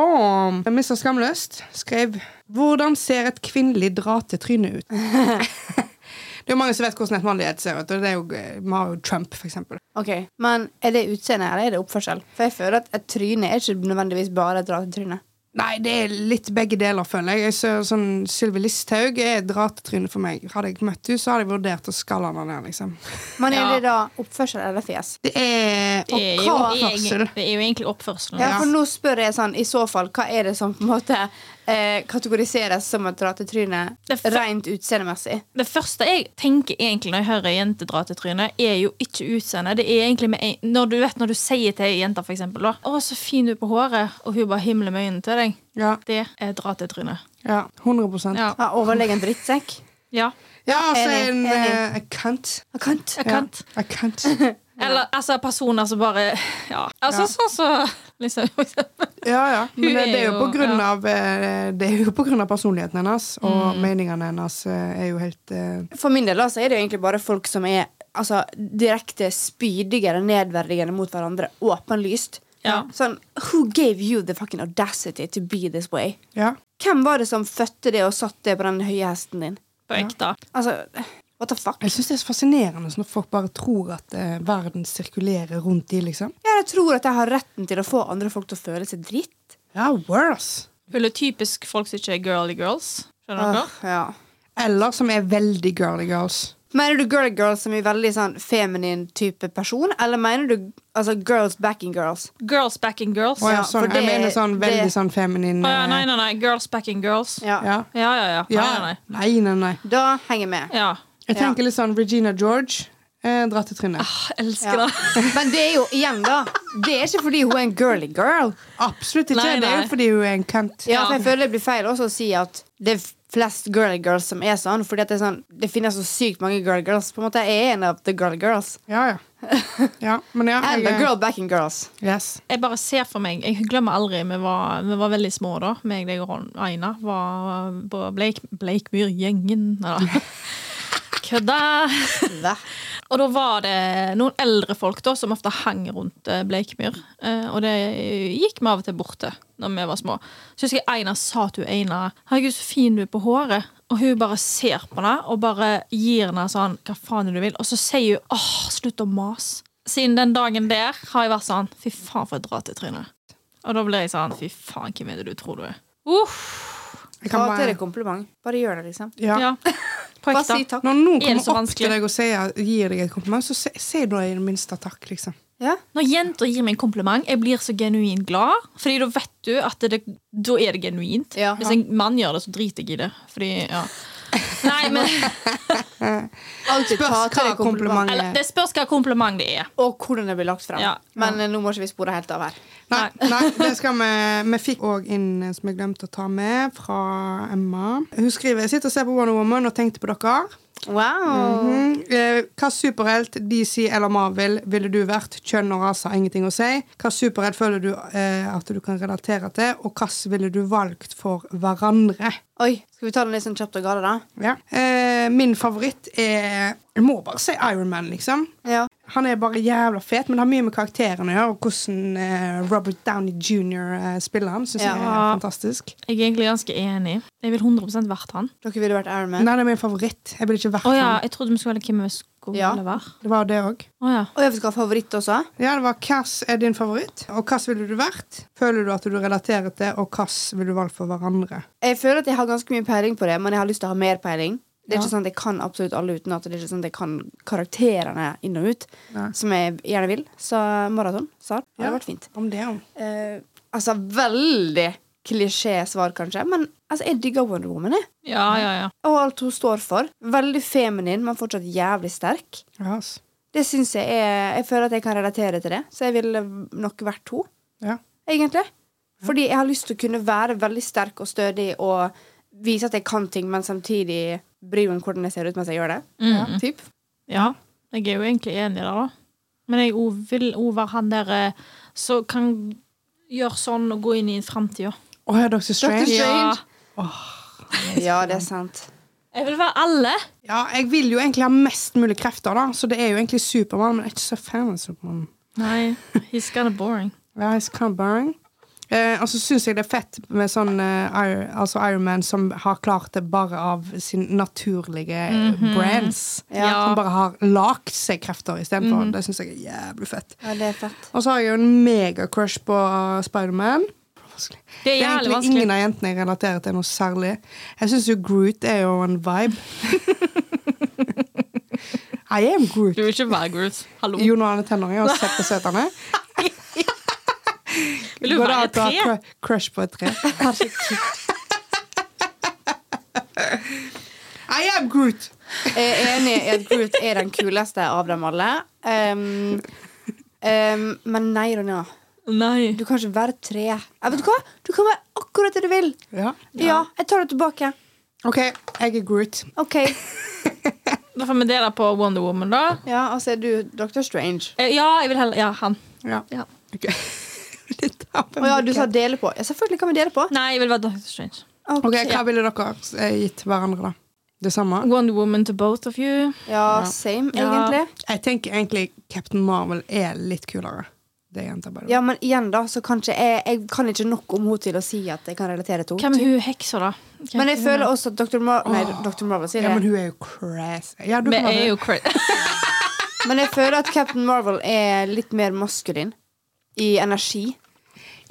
A: Mr. Skamløst skrev Hvordan ser et kvinnelig dra til tryne ut? det er jo mange som vet hvordan et mannlig et ser ut. og det er jo eh, Vi har jo Trump, for eksempel.
C: Ok, Men er det utseende eller er det oppførsel? For jeg føler at et tryne er ikke nødvendigvis bare et rart tryne.
A: Nei, det er litt begge deler, føler jeg. jeg ser, sånn, Sylvi Listhaug er et dra til tryne for meg. Hadde jeg møtt henne, så hadde jeg vurdert å skalle henne ned, liksom.
C: Men er
B: Ja.
C: det da oppførsel eller fjes?
A: Det er
B: Det er, jo,
A: oppførsel.
B: egen- det er jo egentlig oppførselen.
C: Ja, for nå spør jeg sånn, i så fall, hva er det som på en måte eh, kategoriseres som et ratetryne
B: Det er fe-
C: rent utseendemessig?
B: Det første jeg tenker egentlig når jeg hører ei jente dra til trynet, er jo ikke utseendet. Det er egentlig med en, når, du vet, når du sier til ei jente for eksempel, da, 'Å, så fin du er på håret', og hun bare himler med øynene til deg.
A: Ja,
B: Det er eh, dra til trynet.
A: ja, 100
B: Ja.
C: Har overlegen drittsekk?
B: ja.
A: Ja, altså en
C: Enig, enig.
A: eh, Jeg can't.
C: Jeg kan ikke.
B: Jeg kan.
A: Jeg can't.
B: Eller altså personer som bare Ja. Altså
A: Ja.
B: sånn som liksom,
A: Ja, ja. Men
B: Hun
A: det, det, er
B: er
A: jo
B: jo-
A: på grunn
B: ja. Mm.
A: av, eh, det er jo på grunn av personligheten hennes, og meningene hennes eh, er jo helt eh,
C: For min del altså, er det jo egentlig bare folk som er altså, direkte spydigere, nedverdigende mot hverandre, åpenlyst.
B: Ja.
C: Sånn, Who gave you the fucking audacity to be this way?
A: Ja.
C: Hvem var det som fødte det og satt det på den høye hesten din?
B: på ekte.
C: Altså, what the fuck?
A: Jeg syns det er så fascinerende når folk bare tror at eh, verden sirkulerer rundt de, liksom.
C: Jeg tror at jeg har retten til å få andre folk til å føle seg dritt.
A: Ja, worse.
B: Føler typisk folk som ikke er girly girls. Skjønner dere?
C: Ja.
A: Eller som er veldig girly girls.
C: Mener du girl girl som er veldig sånn feminin type person, eller mener du altså, girls backing girls?
B: Girls backing girls.
A: Å,
B: Å
A: ja,
C: Ja,
A: sånn,
C: for
A: jeg
C: det-
A: mener sånn veldig
C: det-
A: sånn feminin
B: ja, nei,
A: eh,
B: nei, nei. Girls backing girls. Ja,
C: Ja.
A: Ja.
B: ja, ja. Nei,
A: ja.
B: nei,
A: Nei, nei, nei.
C: Da henger jeg med.
B: nei. Ja.
A: Jeg
C: Ja.
A: tenker litt sånn Regina George. Eh, dratt til trynet.
B: Jeg elsker
C: Ja.
B: det.
C: Men det er jo igjen, da. Det er ikke fordi hun er en girly girl.
A: Absolutt ikke.
B: Ah. Nei,
A: Det er
B: nei.
A: jo fordi hun er en kant.
C: Ja,
B: Ja.
C: for jeg føler det blir feil også å si at det er flest girly girls som er sånn. Fordi at det, er sånn, det finnes så sykt mange girl girls. På en måte Jeg er en av the girl girls.
A: Ja, ja. ja men ja,
C: And the
A: jeg-
C: girl backing girls.
A: Yes.
B: jeg bare ser for meg Jeg glemmer aldri, vi var, vi var veldig små da. Meg, deg og Ron- Aina var på Bleik, Bleikmyrgjengen. Nei da. Kødda!
C: Hva?
B: Og da var det noen eldre folk da, som ofte hang rundt eh, Bleikmyr. Eh, Og det gikk vi av og til bort til når vi var små. Så husker jeg Einar sa til hun Einar 'Herregud, så fin du er på håret'. Og hun bare ser på henne og bare gir henne sånn 'Hva faen er det du vil?' Og så sier hun 'Åh, slutt å mase'. Siden den dagen der har jeg vært sånn 'Fy faen, for et dra-til-tryne'. Og da blir jeg sånn 'Fy faen, hvem er det du tror du er?' Uff.
A: Jeg kan
C: Ta til
A: bare,
C: deg kompliment. Bare gjør det, liksom.
A: ja.
B: Ja. På
C: Bare
B: ekte.
C: si takk.
A: Når noen
B: Er det så
A: kommer opp
B: vanskelig?
A: til deg og sier, gir deg et kompliment, så se- sier du i det minste takk, liksom.
C: Ja.
B: Når jenter gir meg en kompliment, jeg blir så genuint glad. Fordi da vet du at det, da er det genuint.
C: Ja.
B: Hvis en mann gjør det, så driter jeg i det. Fordi, ja. Nei, men
A: Spørs
C: Alltid ta til
A: hva
C: deg kompliment.
B: eller,
A: komplimentet
B: Det spørs hva kompliment det er.
C: Og hvordan det blir lagt frem.
B: Ja.
C: Men eh, nå må ikke vi spore helt av her.
A: Nei, nei, det skal vi Vi fikk òg inn en som jeg glemte å ta med, fra Emma. Hun skriver Jeg sitter og ser på Wonder Woman og tenkte på dere.
C: Wow.
A: Mhm. Eh, Hva superhelt, DC eller Marvel, ville du vært? Kjønn og rase har ingenting å si. Hva superhelt føler du eh, at du kan relatere til, og hva ville du valgt for hverandre?
C: Oi, skal vi ta den litt sånn kjapt og gale, da?
A: Ja. Eh, min favoritt er Jeg må bare si Iron Man, liksom.
C: Ja.
A: Han er bare jævla fet, men det har mye med karakteren å gjøre. Og hvordan eh, Robert Downey jr. Eh, spiller han, syns jeg er
B: Ja.
A: fantastisk.
B: Jeg er egentlig ganske enig. Jeg ville 100 vært han.
C: Dere ville vært Iron Man.
A: Nei, det er min favoritt. Jeg ville ikke vært
B: Å ja,
A: han.
B: jeg trodde vi skulle velge hvem vi skulle
C: Ja.
B: være.
A: Det var det også.
B: Å ja.
C: Og jeg skal ha favoritt også.
A: Ja, det var Hvilken er din favoritt, og hvilken ville du vært? Føler du at du relaterer til, og hvilken ville du valgt for hverandre?
C: Jeg føler at jeg har ganske mye peiling på det, men jeg har lyst til å ha mer peiling. Det er
A: Ja.
C: ikke sånn at Jeg kan absolutt alle uten at det er ikke sånn at jeg kan karakterene inn og ut,
A: Nei.
C: som jeg gjerne vil. Så maraton, Sar, det
A: Ja.
C: hadde vært fint.
A: Om det, om.
C: Eh, altså, veldig klisjé-svar, kanskje, men altså, jeg digger Wonder Woman. Jeg.
B: ja, ja, ja.
C: Og alt hun står for. Veldig feminin, men fortsatt jævlig sterk.
A: Ja, ass.
C: Det synes jeg er Jeg føler at jeg kan relatere til det, så jeg ville nok vært to,
A: Ja.
C: egentlig. Fordi jeg har lyst til å kunne være veldig sterk og stødig og vise at jeg kan ting, men samtidig bry meg om hvordan jeg ser ut mens jeg gjør det.
B: Mm.
C: Typ.
B: ja. Jeg er jo egentlig enig der, da. Men jeg òg vil òg være han der eh, som kan gjøre sånn og gå inn i framtida.
A: Å, ja, Dr. Strange.
C: Strange.
B: Ja.
C: Ja, det er sant.
B: Jeg vil være alle.
A: Ja, jeg vil jo egentlig ha mest mulig krefter, da, så det er jo egentlig Supermann, men jeg er ikke så fan av Supermann.
B: Nei, he's kinda boring.
A: Ja, it's kind of boring. Eh, og så syns jeg det er fett med sånn eh, Iron, altså Iron Man som har klart det bare av sin naturlige eh, brands.
B: Mhm. Ja. Mhm.
A: Som bare har lagd seg krefter istedenfor. Det syns jeg er jævlig fett.
C: Ja, det er fett.
A: Og så har jeg jo en mega-crush på uh, Spiderman. Vanskelig.
B: Det
A: Det
B: er
A: er
B: jævlig
A: egentlig
B: vanskelig.
A: ingen av jentene jeg relaterer til noe særlig. Jeg syns jo Groot er jo en vibe. I am Groot.
B: Du vil ikke være Groot. Hallo.
A: Jo, når han er tenåring, og sett på søtene.
B: Vil du være et
A: å ha
B: tre?
A: cru- crush på et tre? I am Groot!
C: Jeg er enig i at Groot er den kuleste av dem alle. Um, um, men nei, Ronja.
B: Nei.
C: Du kan ikke være tre. Ja, vet du hva? Du kan være akkurat det du vil.
A: Ja.
C: Ja, jeg tar det tilbake.
A: OK, jeg er Groot.
C: OK.
B: Da får vi dele på Wonder Woman, da.
C: Ja, altså er du Dr. Strange.
B: Eh, Ja, jeg vil heller Ja, han.
A: Ja.
B: Ja.
A: Ok. Det tar på
C: Å ja,
A: mye.
C: du sa dele på. Ja, selvfølgelig kan vi dele på.
B: Nei, jeg vil være Doctor Strange.
A: Ok, Hva ville dere eh, gitt hverandre, da? Det samme?
B: Wonder Woman to both of you.
C: Ja, same,
B: Ja.
C: egentlig.
A: Jeg tenker egentlig Captain Marvel er litt kulere. Det er jenta, by the way.
C: Ja, men igjen, da, så kanskje jeg, jeg kan ikke nok om henne til å si at jeg kan relatere til
B: Hvem
C: henne.
B: er hun heksa, da? Hvem
C: Men jeg
B: er hun?
C: føler også at Dr. Mar nei, Dr. Marvel sier
A: Ja, men
C: det.
A: hun er jo crazy. Ja, du
B: Vi
A: kan ha
B: er
A: det.
B: jo crazy.
C: Men jeg føler at Captain Marvel er litt mer maskulin i energi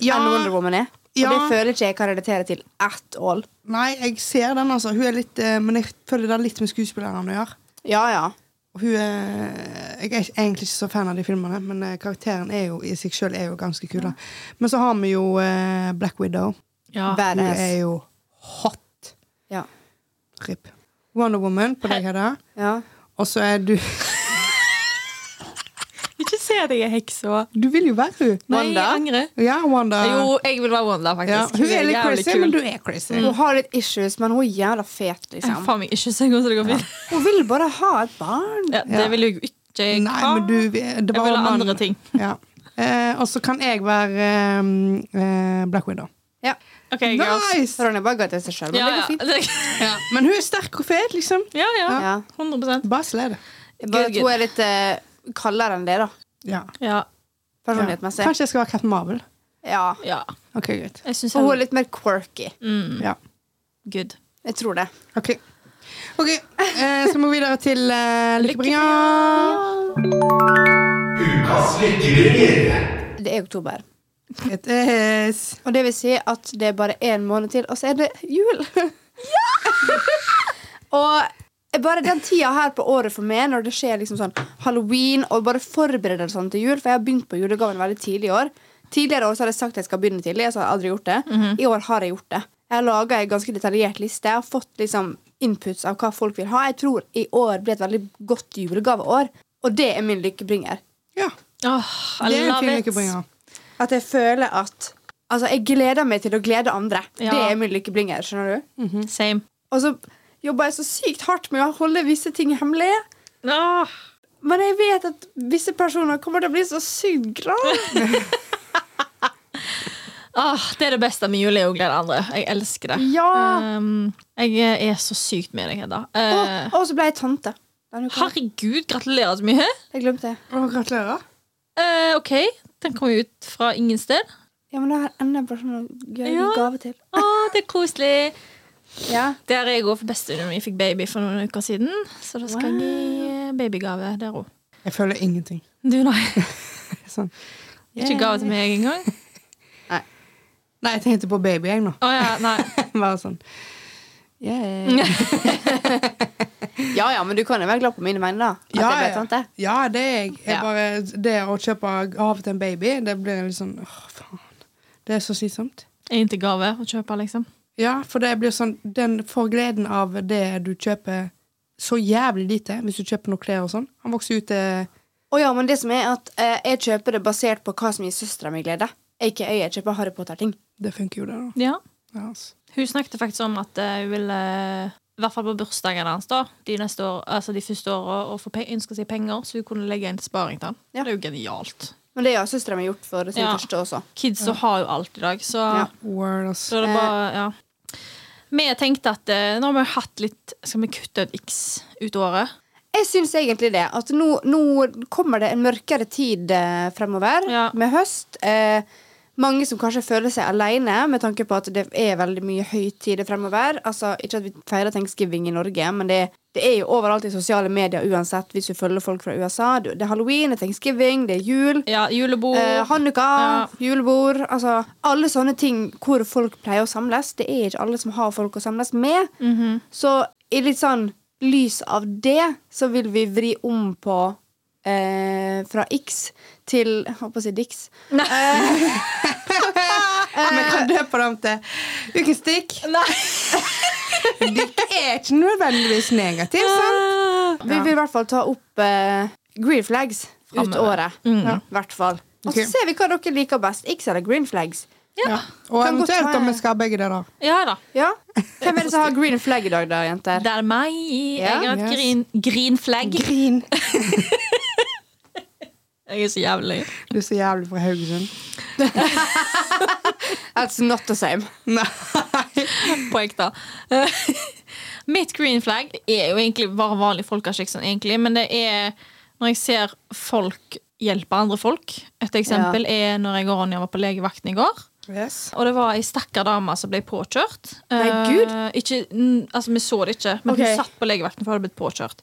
A: ja,
C: enn Wonder Woman er. Og
A: Ja.
C: det føler ikke jeg kan relatere til at all.
A: Nei, jeg ser den, altså. Hun er litt, eh, men jeg føler det er litt med skuespilleren å gjøre.
C: Ja, ja.
A: Og Hun er, jeg er ikke- egentlig ikke så fan av de filmene, men eh, karakteren er jo, i seg selv er jo ganske kul. da. Men så har vi jo eh, Black Widow.
B: Ja.
A: Hun er
C: Badass.
A: jo hot.
C: Ja.
A: Rip. Wonder Woman på deg, Hedda.
C: ja.
A: Og så er du
B: Ikke si at jeg er heksa.
A: Du vil jo være hun.
B: Nei, jeg
C: Wanda?
B: angrer.
A: Ja, Wanda.
B: Jo, jeg vil være Wanda,
A: ja.
B: faktisk.
A: Hun er litt
B: jævlig
A: crazy,
B: kul. Mm.
A: men du er crazy.
C: Hun har litt issues, men hun er jævla fet,
B: Jeg er
C: liksom.
B: Faen meg ikke så god som det går fint.
C: Hun vil bare ha et barn.
B: Ja, det vil jeg jo ikke jeg
A: Nei,
B: ha.
A: men du det
B: Jeg
A: var
B: vil ha
A: mann-
B: andre ting.
A: Ja. Eh, og så kan jeg være eh, eh, Black Widow.
C: Ja.
B: OK, girls.
A: Nice!
C: Ronja bare ga til seg sjøl, men
B: Ja,
C: det går fint.
B: ja.
A: Men hun er sterk og fet, liksom.
B: ja, ja.
C: Ja.
B: 100
A: Bare slay det.
C: Jeg bare
B: Good,
C: tror jeg er litt eh, kaldere enn det, da.
A: Ja.
B: Ja.
C: Personlighetsmessig.
A: Kanskje jeg skal være Captain Marvel.
C: Ja.
B: ja.
A: Ok, greit.
B: Jeg syns
C: Og hun
B: hun
C: er litt mer quirky.
B: mm,
A: Ja.
B: Good.
C: Jeg tror det.
A: Ok. Ok, eh, Så må vi videre til eh, Lykkebringa.
D: Ukas lykkebringer.
C: Det er oktober.
A: It is.
C: Og det vil si at det er bare én måned til, og så er det jul! Ja! og bare den tida her på året for meg, når det skjer liksom sånn halloween og bare forberedelsene til jul, for jeg har begynt på julegaven veldig tidlig i år. Tidligere år så har jeg sagt at jeg skal begynne tidlig, så har jeg aldri gjort det. I år har jeg gjort det. Jeg har laga en ganske detaljert liste. Jeg har fått liksom inputs av hva folk vil ha. Jeg tror i år blir et veldig godt julegaveår, og det er min lykkebringer.
A: Ja,
B: Åh, I
A: det er en fin
B: love it.
A: lykkebringer.
C: At jeg føler at Altså, jeg gleder meg til å glede andre.
B: Ja.
C: Det er min lykkebringer. skjønner du?
B: Same.
C: Og så jobber jeg så sykt hardt med å holde visse ting hemmelig.
B: Åh.
C: Men jeg vet at visse personer kommer til å bli så sykt glad.
B: Åh, det er det beste med jul, er å glede andre. Jeg elsker det.
C: Ja.
B: Um, jeg er så sykt med deg, Hedda. Eh,
C: Og, og så ble jeg tante. Denne uka.
B: herregud, gratulerer så mye.
C: Jeg glemte det.
A: Og gratulerer.
B: Eh, OK, den kom jo ut fra ingen sted.
C: Ja, men da har enda en person å gi
B: Ja.
C: gave til.
B: Å, det er koselig.
C: Ja.
B: Der er jeg òg for bestevenn min fikk baby for noen uker siden. Så da skal jeg gi eh, babygave der òg.
A: Jeg føler ingenting.
B: Du, nei.
A: Sånn.
B: Ikke gave til meg engang?
A: Nei, jeg tenkte på baby, jeg, nå.
B: Å ja, nei.
A: Bare sånn. Yeah.
C: ja ja, men du kan jo være glad på mine vegne, da. At jeg ble tante.
A: ja, det er jeg. jeg
C: Ja.
A: bare, det å kjøpe gave til en baby, det blir litt sånn åh, faen. Det er så slitsomt.
B: Én til gave å kjøpe, liksom.
A: Ja, for det blir sånn Den får gleden av det du kjøper, så jævlig lite, hvis du kjøper noen klær og sånn. Han vokser ut til
C: Å ja, men det som er at eh, jeg kjøper det basert på hva som gir søstera mi glede. Ikke jeg, jeg kjøper Harry Potter-ting.
A: Det funker jo, det, da.
B: Ja.
A: Ja, altså.
B: Hun snakket faktisk om at eh, hun ville eh, i hvert fall på bursdagen hans da, de, neste år, altså de første åra og få pe- ønske seg penger, så hun kunne legge inn til sparing til han.
C: Ja.
B: Det er jo genialt.
C: Men det har søstera mi gjort for sin
B: Ja.
C: første også.
B: Kidsa har jo alt i dag, så,
C: Ja. Eh.
A: Word, ass.
B: så det er bare Ja. Vi tenkte at eh, nå har vi hatt litt Skal vi kutte ut X ut året?
C: Jeg syns egentlig det. At nå, nå kommer det en mørkere tid eh, fremover,
B: Ja.
C: med høst. Eh, mange som kanskje føler seg alene, med tanke på at det er veldig mye høytider fremover. Altså, ikke at vi feirer thanksgiving i Norge, men det, det er jo overalt i sosiale medier uansett, hvis du følger folk fra USA. Du- Det er halloween, det er thanksgiving, det er jul.
B: Ja, julebord.
C: Eh, Hanukka,
B: Ja.
C: julebord altså, Alle sånne ting hvor folk pleier å samles. Det er ikke alle som har folk å samles med.
B: Mhm.
C: Så i litt sånn lys av det, så vil vi vri om på eh, fra X til Jeg holdt på å si Dix.
A: Vi kan døpe dem til Ukens stikk. Dykk er ikke nødvendigvis negativ, sant?
C: Vi vil i hvert fall ta opp eh, green flags ut
B: Fremover.
C: året.
B: Mm.
C: Ja, I hvert fall. Og
A: Ok.
C: så ser vi hva dere liker best. X eller green flags.
B: Ja.
A: Og
C: Kan godt
A: eventuelt
C: være.
A: om vi skal ha begge deler.
B: ja da.
C: Ja. Hvem er det som har green flag i dag, da, jenter?
B: Det er meg.
C: Ja.
B: Jeg har et
A: Yes.
B: green, green flag.
A: Grin.
B: Jeg er så jævlig.
A: Du er så jævlig fra Haugesund.
C: That's not the same.
B: på ekte. Eh, Mitt green flag er jo egentlig bare vanlig folkeskikk, sånn egentlig, men det er når jeg ser folk hjelpe andre folk. Et eksempel er når jeg og Ronja var på legevakten i går.
A: Yes.
B: Og det var ei stakkar dame som ble påkjørt.
C: Nei, Gud.
B: Eh, ikke, mm, altså, vi så det ikke, men
C: Ok. Mm.
B: hun satt på legevakten for hun hadde blitt påkjørt.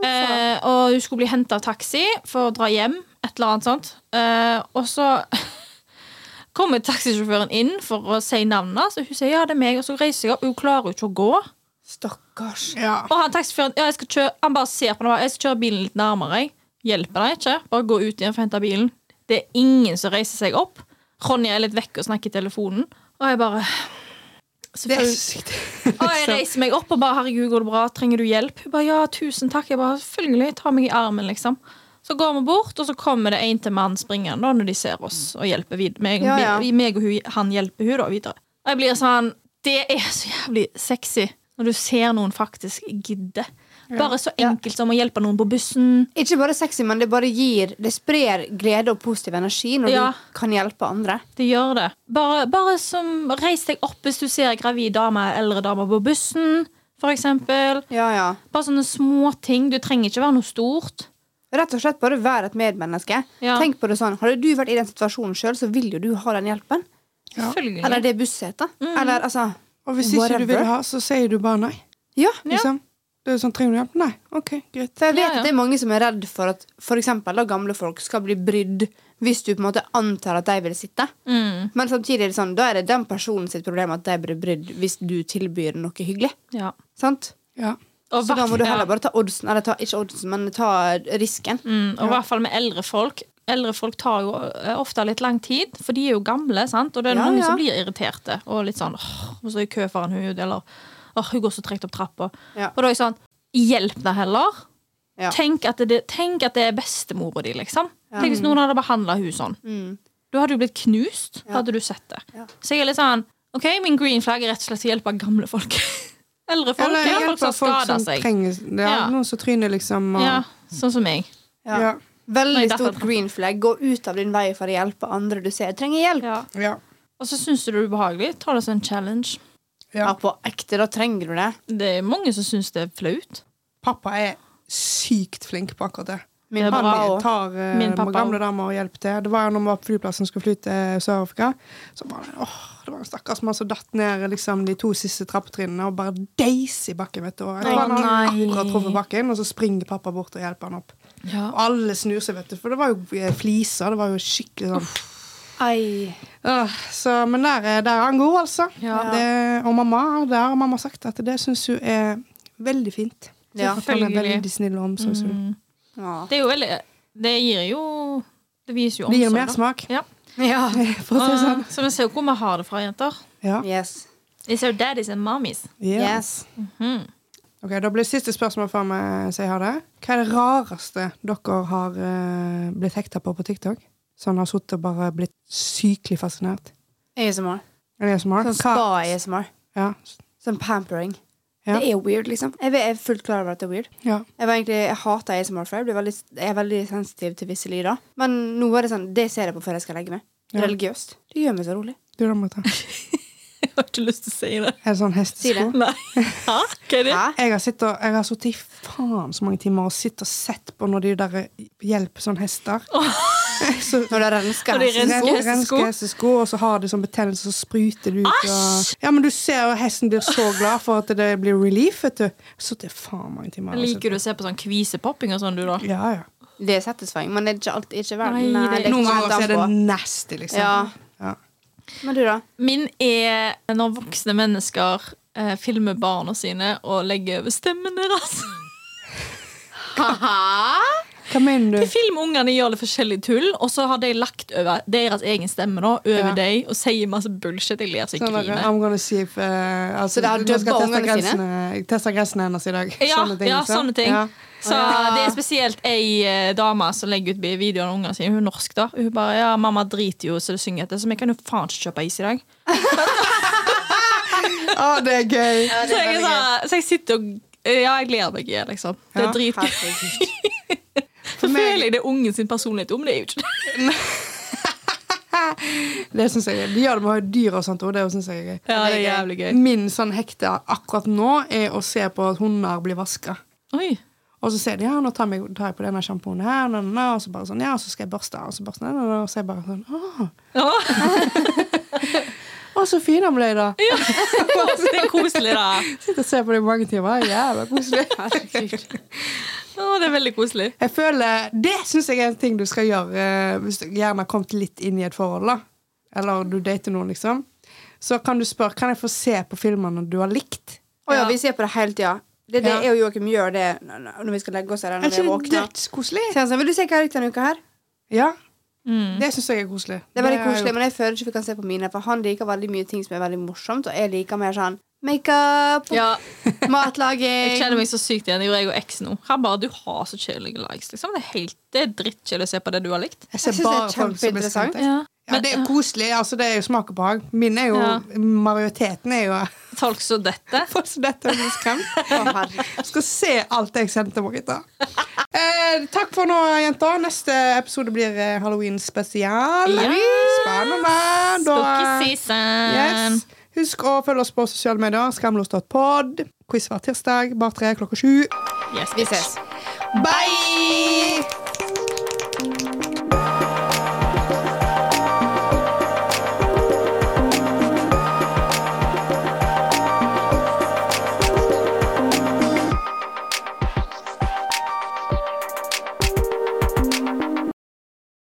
B: Eh, og hun skulle bli henta av taxi for å dra hjem, et eller annet sånt. Eh, og så kommer taxisjåføren inn for å si navnet hans, og hun sier ja, det er meg. Og så reiser jeg opp, hun klarer jo ikke å gå.
C: Stakkars.
A: Ja.
B: Og han taxisjåføren ja, jeg skal kjøre, han bare ser på henne og bare, jeg skal kjøre bilen litt nærmere. Jeg. Hjelper deg ikke. Bare gå ut igjen for å hente bilen. Det er ingen som reiser seg opp. Ronja er litt vekk og snakker i telefonen. Og jeg bare
A: Det er
B: Selvfølgelig.
A: sykt.
B: Og
C: Liksom.
B: jeg reiser meg opp og bare 'herregud, går det bra? Trenger du hjelp?' Hun bare 'ja, tusen takk'. Jeg bare 'selvfølgelig, ta meg i armen', liksom. Så går vi bort, og så kommer det en til mann springende da, når de ser oss, og hjelper videre. Meg,
C: Ja, ja.
B: vi- meg og hun, han hjelper hun da videre. Og jeg blir sånn Det er så jævlig sexy når du ser noen faktisk gidde. Bare så enkelt som å hjelpe noen på bussen.
C: Ikke bare sexy, men det bare gir Det sprer glede og positiv energi når
B: Ja.
C: du kan hjelpe andre.
B: Det gjør det. Bare, bare som Reis deg opp hvis du ser en gravid dame eller eldre dame på bussen. for eksempel.
C: Ja, ja.
B: Bare sånne små ting. Du trenger ikke være noe stort.
C: Rett og slett bare vær et medmenneske.
B: Ja.
C: Tenk på det sånn, Hadde du vært i den situasjonen sjøl, så vil jo du ha den hjelpen.
B: Selvfølgelig.
C: Eller det bussetet.
B: Mm.
C: Eller altså
A: Og hvis ikke
C: Whatever.
A: du vil ha, så sier du bare nei.
C: Ja.
B: Ja.
A: Liksom. Det er jo sånn, Trenger du hjelp? Nei. OK, greit.
C: For jeg vet
B: Ja, ja.
C: at det er mange som er redd for at for eksempel, da, gamle folk skal bli brydd hvis du på en måte antar at de vil sitte.
B: Mm,
C: Men samtidig er det sånn, da er det den personen sitt problem at de blir brydd hvis du tilbyr noe hyggelig.
B: ja.
C: Sant?
A: Ja.
B: Og
C: Så da må du
B: hvert- ja.
C: heller bare ta oddsen, eller ta, ikke oddsen, men ta risken.
B: Mm, og i hvert fall med eldre folk. Eldre folk tar jo eh, ofte litt lang tid, for de er jo gamle. sant? Og det er
C: Ja,
B: mange
C: ja.
B: som blir irriterte. Og litt sånn åh, og så er jeg i kø foran hun, eller åh, hun går så tregt opp trappa.
C: Ja.
B: Og da er jeg sånn Hjelp deg heller.
C: Ja.
B: Tenk, at det, tenk at det er bestemora di, liksom. Tenk hvis noen hadde behandla hun sånn.
C: Mm.
B: Da hadde du blitt knust, hadde du sett det.
C: Ja.
B: Så jeg er litt sånn OK, min green flag er rett og slett å hjelpe gamle folk. eldre folk.
A: Eller
B: Eller
A: hjelpe
B: folk som
A: folk
B: skader
A: som
B: seg.
A: trenger ja,
B: Ja.
A: Noen som tryner, liksom. Og,
B: Ja, sånn som meg.
C: Ja.
A: ja.
C: Veldig
B: Nei, derfor-
C: stort green flag. Gå ut av din vei for å hjelpe andre du ser trenger hjelp. Ja,
B: Ja.
A: ja.
B: Og så syns du det er ubehagelig. Ta det som en challenge.
A: ja.
C: på ekte, da trenger du det.
B: Det er mange som syns det er flaut.
A: Pappa er sykt flink på akkurat det.
C: Min
B: Det er
C: pappa
B: bra.
A: Jeg
C: òg.
A: tar eh,
B: Min pappa
A: med gamle
B: også.
A: damer og hjelper til. Det var jo når vi var på flyplassen og skulle fly til Sør-Afrika. Så bare, åh, Det var en stakkars mann som altså datt ned liksom, de to siste trappetrinnene og bare deis i bakken. vet du. Og jeg tror
B: Å,
A: han hadde
B: nei.
A: akkurat truffet bakken, og så springer pappa bort og hjelper han opp. Og alle snur seg, vet du, for det var jo eh, fliser. Det var jo skikkelig sånn
C: Ai.
A: Åh, så, Men der er, der er han god, altså.
B: Ja.
A: Det, og mamma, der har mamma sagt at det syns hun er veldig fint.
C: Ja.
A: At han er
B: Selvfølgelig.
A: veldig snill og
B: Sånn
A: omsorgsfull.
C: Ja.
B: Mm. Det er jo veldig Det gir jo Det viser jo
A: Det gir
B: omsorg, da.
A: mersmak.
B: Ja.
C: Ja.
A: For å si det
C: Ah,
A: sånn.
B: Og- Så vi ser jo hvor vi har det fra, jenter.
A: Ja.
C: Yes.
B: It's our daddies and mommies.
A: Yeah.
C: Yes.
B: Mm.
A: Ok, Da blir det siste spørsmål før vi sier ha det. Hva er det rareste dere har eh, blitt hekta på på TikTok? Sånn har sittet og bare blitt sykelig fascinert?
C: ASMR.
A: Er det ASMR?
C: Sånn
A: Hva-
C: spa-ASMR.
A: Ja.
C: Sånn pampering.
A: Ja.
C: Det er weird, liksom. Jeg vet- jeg er fullt klar over at det er weird.
A: ja.
C: Jeg, var egentlig, jeg hater ASMR før. Jeg, blir veldig, jeg er veldig sensitiv til visse lyder. Men nå er det sånn, det ser jeg på før jeg skal legge meg.
A: Ja.
C: Religiøst. Det gjør meg så rolig.
A: Du da, Marta. Er
B: Jeg har ikke lyst til å si det.
A: det sånn
C: Si det.
A: hestesko?
B: Nei. Hæ? Hva er det?
C: Hæ?
A: Jeg har sittet og- jeg har sittet i faen så mange timer og sittet og sett på når de der hjelper sånne hester. Så
C: Når det rensker
B: Når det
C: hesten.
B: rensker.
A: rensker
B: hestesko.
A: rensker hestesko, og så har de sånn betennelse, så spruter det ut. Og, ja, men du ser jo hesten blir så glad for at det blir relief, vet du. Så det er faen mange timer.
B: Liker du å se på sånn kvisepopping og sånn, du, da?
A: altså. Ja, ja.
C: Det er satisfying, men det er ikke alltid ikke verden.
B: Nei, det er sånn
A: Noen
C: kommer
A: ganger så er det
C: an på.
A: nasty, liksom.
C: Ja.
A: Ja.
C: Men du, da?
B: Min er når voksne mennesker eh, filmer barna sine og legger over stemmen deres.
A: Hva mener
B: De
A: du?
B: filmer ungene gjør litt forskjellig tull, og så har de lagt over deres egen stemme da, over
A: Ja.
B: deg og sier masse bullshit. Jeg ler så jeg
A: Sånn der,
B: griner.
A: I'm gonna see if eh, altså,
C: Så det har
A: nå skal jeg
C: dubba
A: teste
C: ungene sine?
A: grensene- Jeg tester grensene hennes i dag.
B: Ja, ja,
A: liksom.
B: sånne ting.
A: Ja.
B: Så Det er spesielt ei eh, dame som legger ut videoer av ungene sine. Hun er norsk, da. Hun bare ja, 'Mamma driter jo så det synger etter, så vi kan jo faen ikke kjøpe is i dag'.
A: Å, det er gøy!
B: Så jeg, er sånn- så jeg sitter og eh, Ja, jeg ler meg i det, liksom. Det
A: Ja.
B: er dritgøy. Så
A: meg-
B: føler jeg det er ungen sin personlighet om, det er jo ikke det.
A: Det synes jeg er gøy. De gjør det med å ha dyr og sånt, og det synes jeg er gøy.
B: Ja, det er jævlig gøy.
A: Min sånn hekte akkurat nå er å se på at hunder blir vaska.
B: Oi.
A: Og så sier de ja, nå tar jeg, tar jeg på denne sjampoen her, na, na, na, og så bare sånn, ja, og så skal jeg børste, og så børste den, og så er jeg bare sånn, åh,
B: Ja,
A: å, så fin han ble da.
B: det er koselig, da.
A: Sitter og ser på det i mange timer, jævla koselig.
B: Å, det er veldig koselig.
A: Jeg føler, det synes jeg er en ting du skal gjøre eh, hvis du gjerne har kommet litt inn i et forhold da, eller du dater noen liksom. Så kan du spørre, kan jeg få se på filmene du har likt?
C: Å ja,
B: Ja.
C: vi ser på det hele tida. Det, det
A: Ja.
C: er jo Joakim gjør det når vi skal legge oss eller
A: Er
C: når vi
A: ikke det
C: våkner.
A: dødskoselig?
C: Så han sier, Vil du se hva jeg har likt denne uka her?
A: Ja,
B: Mm.
A: det synes jeg er koselig.
C: Det er veldig
A: har jeg
C: koselig, men jeg føler ikke vi kan se på mine. For han liker veldig mye ting som er veldig morsomt, og jeg liker mer sånn makeup,
B: Ja, jeg
C: matlaging
B: kjenner meg så sykt igjen. Det gjorde jeg og eksen nå. Han bare, du har så kjedelige likes. Liksom. Det er, helt- det er drittkjedelig å se på det du har likt.
A: Jeg ser
C: Jeg synes det er
A: bare folk som blir
C: kjempeinteressant.
A: sendt. Ja, det er jo koselig. altså Det er jo smak og behag. Min er jo
B: Ja.
A: Majoriteten er jo
B: Folk som dette.
A: folk som dette blir skremt.
C: Å, herre.
A: Skal se alt jeg sendte, Marita. Eh, takk for nå, jenter. Neste episode blir eh, Halloween spesial.
B: Ja.
A: Spennende. Da-
B: Spooky season.
A: yes. Husk å følge oss på sosiale medier. Skamlos.pod. Quiz hver tirsdag, bar tre klokka sju.
B: Yes,
C: Vi ses.
A: Bye!